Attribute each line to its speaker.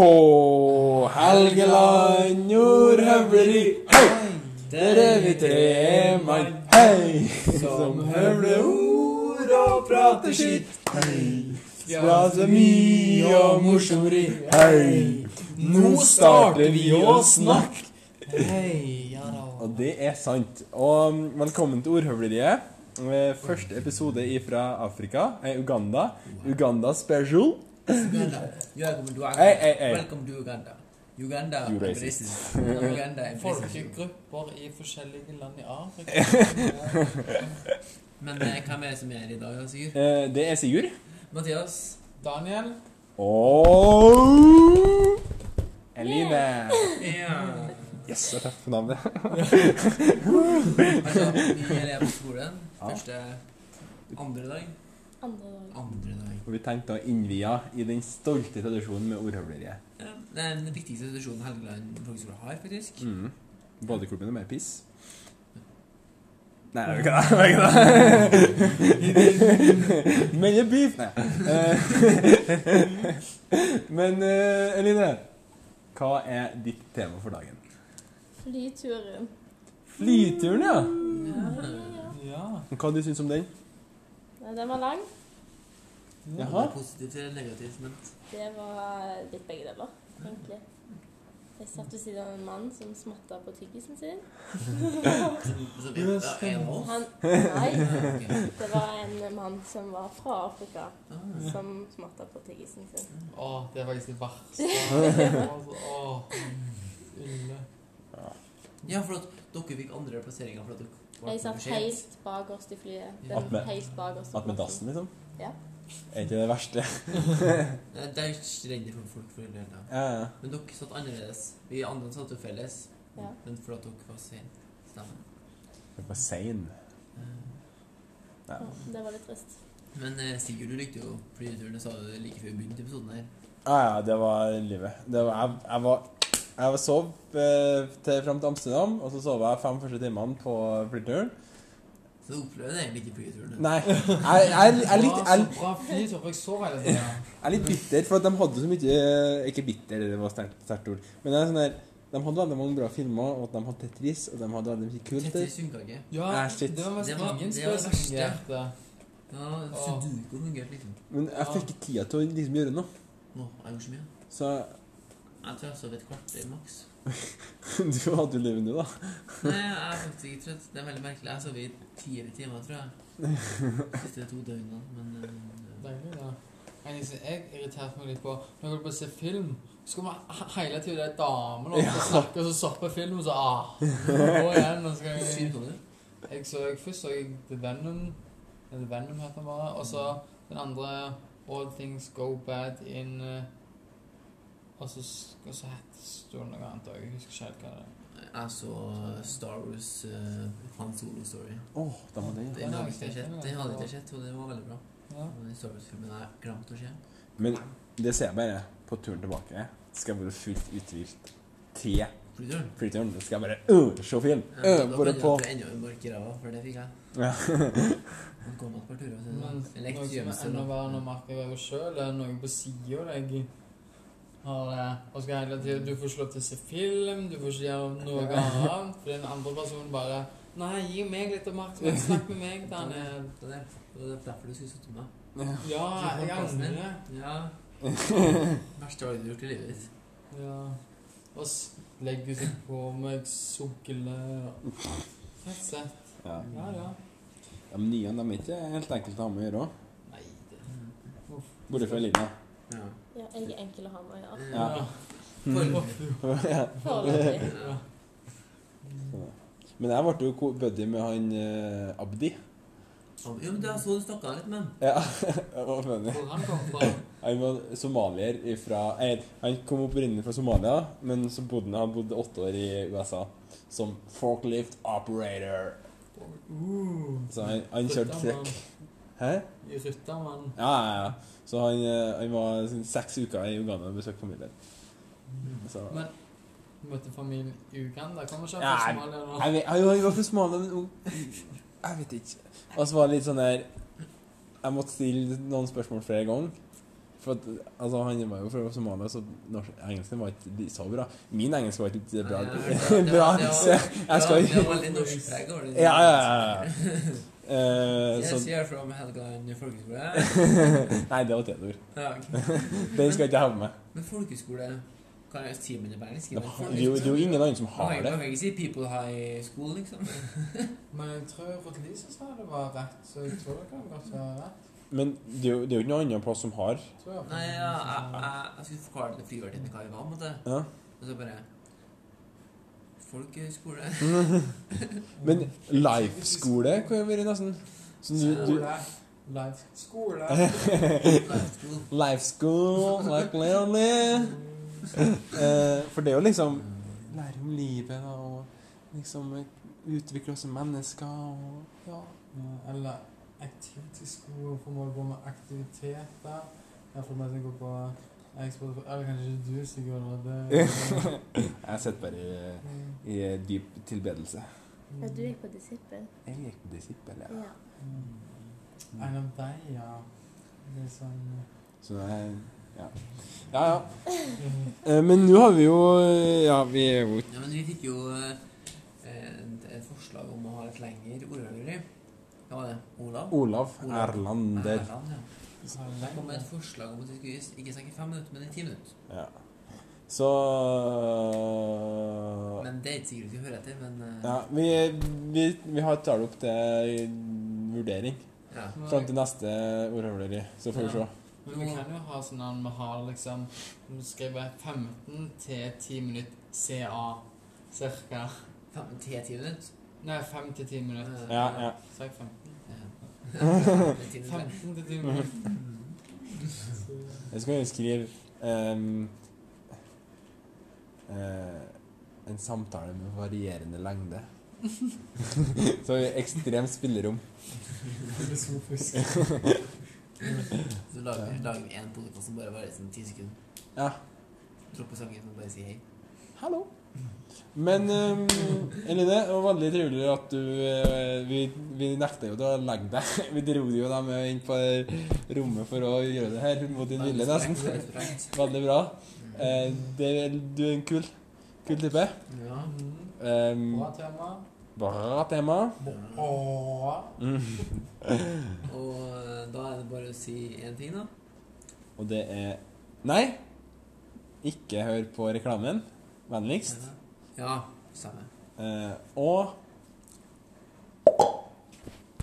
Speaker 1: På Helgeland nordhøvleri, hei! Der er vi tre mann, hei! Som høvler ord og prater skitt, hei! Fra så mye og morsomri, hei! Nå starter vi å snakke!
Speaker 2: Hei, ja da.
Speaker 1: Og det er sant. Og um, velkommen til Ordhøvleriet. Eh, Første episode fra Afrika, eh, Uganda. Uganda special.
Speaker 2: Uganda. You are coming to Uganda.
Speaker 1: Hey, hey, hey.
Speaker 2: Welcome to Uganda. Uganda
Speaker 1: You
Speaker 2: I'm
Speaker 1: racist.
Speaker 2: racist. Uganda I'm racist.
Speaker 3: Folkegrupper i forskjellige land i Afrika.
Speaker 2: Men eh, hvem er det som er her i dag, da, Sigurd?
Speaker 1: Eh, Det er Sigurd.
Speaker 2: Mathias?
Speaker 3: Daniel,
Speaker 1: Og Eline.
Speaker 2: Ja.
Speaker 1: Yes, jeg traff på navnet.
Speaker 2: Altså, vi er på skolen.
Speaker 1: Ja.
Speaker 2: Første andre dag.
Speaker 4: Andre dag.
Speaker 2: Andre dag.
Speaker 1: Og vi tenkte å innvie i den stolte tradisjonen med ordhøvleriet.
Speaker 2: Ja, Det er den viktigste institusjonen Helgeland folkeskole har, faktisk.
Speaker 1: Mm. Badeklubben er mer piss. Nei, det er jo ikke det. Men jeg beef! Nei. Eh, Men eh, Eline, hva er ditt tema for dagen?
Speaker 4: Flyturen.
Speaker 1: Flyturen, ja.
Speaker 4: Ja.
Speaker 3: ja.
Speaker 1: Hva syns du synes om den?
Speaker 4: Nei, Den var lang.
Speaker 1: Jaha.
Speaker 2: Det er Positivt eller negativt, men
Speaker 4: Det var litt begge deler, egentlig. Jeg satt ved siden av en mann som smatta på tyggisen sin.
Speaker 2: Så vet jeg det er en av oss.
Speaker 4: Han Nei.
Speaker 2: Ja, ok.
Speaker 4: Det var en mann som var fra Afrika,
Speaker 2: Ah.
Speaker 4: som smatta på tyggisen sin.
Speaker 3: Å, det er faktisk det verste. Åh, Ulle.
Speaker 2: Ja, for at dere fikk andre plasseringer for at dere var
Speaker 4: Jeg satt
Speaker 2: for sent.
Speaker 4: helt bakerst i flyet.
Speaker 1: At
Speaker 4: Den
Speaker 1: med-
Speaker 4: helt bakerst. på
Speaker 1: At med dassen,
Speaker 4: plassen.
Speaker 1: liksom?
Speaker 4: Ja.
Speaker 1: Er ikke det verste?
Speaker 2: Nei, Det er jo ikke redd for folk for hele tiden.
Speaker 1: Ja, ja.
Speaker 2: Men dere satt annerledes. Vi andre satt jo felles.
Speaker 4: Ja.
Speaker 2: Men for at dere var sent. Stemmer.
Speaker 1: Jeg var sein.
Speaker 2: Eh,
Speaker 1: Ja.
Speaker 4: Ja, Det var litt trist.
Speaker 2: Men eh, Sigurd, du likte jo flyturen. Det sa du like før vi begynte episoden her.
Speaker 1: Ja, ja, det var livet. Det var, jeg, jeg var jeg var sov eh, til, frem til Amsterdam, og så sov jeg fem første timene på flyturen.
Speaker 2: Så du opplevde egentlig ikke flyturen.
Speaker 1: Nei, jeg, jeg, jeg, er litt, jeg,
Speaker 3: Det var så bra flytur, for jeg sov hele tiden.
Speaker 1: jeg er litt bitter, for at de hadde så mye Ikke bitter, det var sterkt sterkt ord. Men det er sånn der, de hadde veldig mange bra filmer, og at de hadde Tetris, og de hadde veldig mye kult
Speaker 2: Tetris
Speaker 1: der.
Speaker 2: funka ikke.
Speaker 3: Ja,
Speaker 1: Ah, shit.
Speaker 3: det var mest
Speaker 2: Det var-
Speaker 3: ingen
Speaker 2: det var
Speaker 3: spill som
Speaker 2: verst, ja.
Speaker 3: fungerte.
Speaker 2: Ja,
Speaker 3: Åh.
Speaker 2: Sudoku fungerte liksom.
Speaker 1: Men jeg fikk ikke tida til å liksom gjøre noe,
Speaker 2: Nå, jeg gjorde så mye.
Speaker 1: så
Speaker 2: Jeg tror jeg sov et kvarter maks.
Speaker 1: du hadde jo livet nå, da.
Speaker 2: Nei, jeg er faktisk ikke trøtt. Det er veldig merkelig. Jeg sov i ti timer, tror jeg. Siste to døgnene. Men eh,
Speaker 3: Deilig, da. En ting som liksom, jeg irriterte meg litt på Når jeg går på å se film, så kommer he- hele tiden de damene opp og snakker, og så stopper filmen, og så ah, Gå igjen, og så skal
Speaker 2: Syv
Speaker 3: jeg
Speaker 2: kroner.
Speaker 3: Jeg så først så jeg The Venom, eller Venom heter den bare, og så den andre All Things Go Bad In eh, Og så, s- og så het sto det noe annet òg, jeg husker ikke helt hva det er.
Speaker 2: Jeg så Star Wars eh, Han Solo-story.
Speaker 1: Åh, de hadde den, ja.
Speaker 2: Den hadde ikke jeg sett, den hadde ikke jeg sett, og det var veldig bra.
Speaker 3: Ja.
Speaker 2: Og Den Star Wars-filmen har jeg glemt å se.
Speaker 1: Men det ser jeg bare på turen tilbake. Skal jeg være fullt uthvilt til
Speaker 2: Flyturen.
Speaker 1: flyturen. Da skal jeg bare øh, se film.
Speaker 2: Ja,
Speaker 1: Øh,
Speaker 2: da
Speaker 1: bare
Speaker 2: kan jeg
Speaker 1: på
Speaker 2: dra Enda en mark i ræva, for det fikk jeg.
Speaker 1: ja.
Speaker 2: Den kom et par turer. så det var
Speaker 3: Men Mm. noe som er
Speaker 2: elektrisk-
Speaker 3: enda verre når merker jeg sjøl, er noe på sida jeg har det. Og skal hele tiden, Du får ikke lov til å se film, du får ikke gjøre noe annet. For den andre personen bare Nei, gi meg litt oppmerksomhet. Snakk med meg,
Speaker 2: Det
Speaker 3: Daniel.
Speaker 2: er- det er det er derfor du skulle sitte med.
Speaker 3: Ja, jeg angrer.
Speaker 2: Ah, Ja. Verste valget du har gjort i livet ditt.
Speaker 3: Ja. Og s- legger seg på meg, sukkele Fett sett.
Speaker 1: Ja.
Speaker 3: Ja, ja.
Speaker 1: ja, men nyene de er ikke helt enkelt å ha med å gjøre òg.
Speaker 3: Nei, det
Speaker 1: Bortsett fra Elina.
Speaker 2: Ja.
Speaker 4: Ja, jeg er enkel å ha med å gjøre.
Speaker 1: Ja. Mm.
Speaker 2: Foreløpig.
Speaker 1: Ja.
Speaker 4: Foreløpig.
Speaker 2: Ja.
Speaker 1: Men jeg ble jo co- buddy med han eh, Abdi.
Speaker 2: Jo, men det er så du snakket litt med den.
Speaker 1: Ja, det var funny.
Speaker 3: Hvor han kom fra?
Speaker 1: Han var somalier fra Han kom opprinnelig fra Somalia, men så bodde han, han bodde åtte år i USA som forklift operator.
Speaker 3: Uh,
Speaker 1: Så han, han kjørte trekk. Hæ?
Speaker 3: I Ryttermann.
Speaker 1: Ja, ja, ja. Så han, eh, han var sånn seks uker i Uganda og besøkte familien. Så.
Speaker 3: Men- Møtte familien i Uganda? Kommer ikke
Speaker 1: Ja,
Speaker 3: fra Somalia nå?
Speaker 1: Jeg vet, jo, han var fra Somalia, men hun- Jeg vet ikke. Og så var det litt sånn der Jeg måtte stille noen spørsmål flere ganger. For at, altså, han var jo fra Somalia, så norsk, engelsken var ikke li- så bra. Min engelsk var ikke litt bra.
Speaker 2: Nei, nei, nei.
Speaker 1: bra.
Speaker 2: Det var-
Speaker 1: så Jeg skal
Speaker 2: Det
Speaker 1: ikke
Speaker 2: var veldig norsk preg over det.
Speaker 1: Ja, ja, ja. ja. Eh, så,
Speaker 2: Yes, you're from Helgeland folkeskole.
Speaker 1: nei, det var Theodor.
Speaker 2: Ja, ok.
Speaker 1: Den skal jeg ikke ha med.
Speaker 2: Men folkeskole Kan jeg si men det på engelsk?
Speaker 1: Det er jo det er jo ingen andre som har
Speaker 2: Man
Speaker 1: det.
Speaker 2: kan ikke si 'people high school', liksom.
Speaker 3: Men jeg tror for Lisa sa det var rett, så jeg tror det kan godt være rett.
Speaker 1: Men det er jo, det er jo ikke noen annen plass som har.
Speaker 3: Tror jeg.
Speaker 2: Nei, ja, jeg, jeg, jeg skulle forklare til flyvertinnen hva vi var, på en måte.
Speaker 1: Ja.
Speaker 2: Og så bare Folkeskole.
Speaker 1: Men life-skole kan jo være nesten så du, du,
Speaker 3: Skole. Life. Skole.
Speaker 2: Folkeskole.
Speaker 1: Life school, like lonely. Eh, for det er jo liksom Lære om livet da, og liksom eh, utvikle oss som mennesker og ja.
Speaker 3: Ja, Eh, Eller aktivitetsskole, for man går med aktiviteter. Jeg får meg til å gå på jeg spør- Eller kanskje ikke du, Sigurd. men Det,
Speaker 1: Jeg sitter bare i, i dyp tilbedelse.
Speaker 4: Ja, du gikk på disippel.
Speaker 1: Jeg gikk på disippel, ja.
Speaker 4: Ja.
Speaker 3: Mm. En av deg, ja. Det er sånn
Speaker 1: Så jeg Ja, ja. ja. Eh, men nå har vi jo eh, Ja, vi er jo
Speaker 2: Ja, men vi fikk jo eh, et, et forslag om å ha et lengre ordhøyere. Hva var det? Olav?
Speaker 1: Olav
Speaker 2: Olav.
Speaker 1: Erlander.
Speaker 2: Erland, ja.
Speaker 3: så
Speaker 2: Det kom
Speaker 3: lenge.
Speaker 2: et forslag om at vi skulle ikke snakke fem minutter, men i ti minutter.
Speaker 1: Ja. Så
Speaker 2: Men det er ikke sikkert vi skal høre etter, men eh,
Speaker 1: Ja, vi, vi, vi har tar det opp til vurdering.
Speaker 2: ja.
Speaker 1: Fram til neste ordhøvleri, så får vi se.
Speaker 3: Men vi kan jo ha sånn at vi har liksom Vi skriver 15 til 10 minutter CA. Cirka.
Speaker 2: Fem til ti minutter.
Speaker 3: Nei, 5 til 10 minutter.
Speaker 1: Ja, ja.
Speaker 3: Sa jeg 15?
Speaker 2: Ja. Det er ti minutter.
Speaker 3: 15 til 10 minutter.
Speaker 1: Jeg skal jo skrive ehm, eh, En samtale med varierende lengde. så ekstremt spillerom.
Speaker 3: Filosofisk.
Speaker 2: Så lager vi- lager vi en podcast som bare varer sånn ti sekunder.
Speaker 1: Ja.
Speaker 2: Droppe sangen og bare si hei.
Speaker 1: Hallo. Men ehm, Eline, det var veldig trivelig at du eh, Vi, vi nekta jo til å legge deg. Vi dro jo deg med inn på rommet for å gjøre det her mot din vilje, nesten.
Speaker 2: nesten.
Speaker 1: Veldig bra. Eh, det, du er en kul, kul type.
Speaker 2: Ja.
Speaker 3: Mm.
Speaker 1: Ehm,
Speaker 3: Bra tema.
Speaker 1: bra tema.
Speaker 3: Åh.
Speaker 2: Mm. Og eh, da er det bare å si én ting, da.
Speaker 1: Og det er Nei!
Speaker 2: 嗯
Speaker 1: Ikke hør på reklamen, vennligst.
Speaker 2: 啊 Ja, samme.
Speaker 1: Eh, og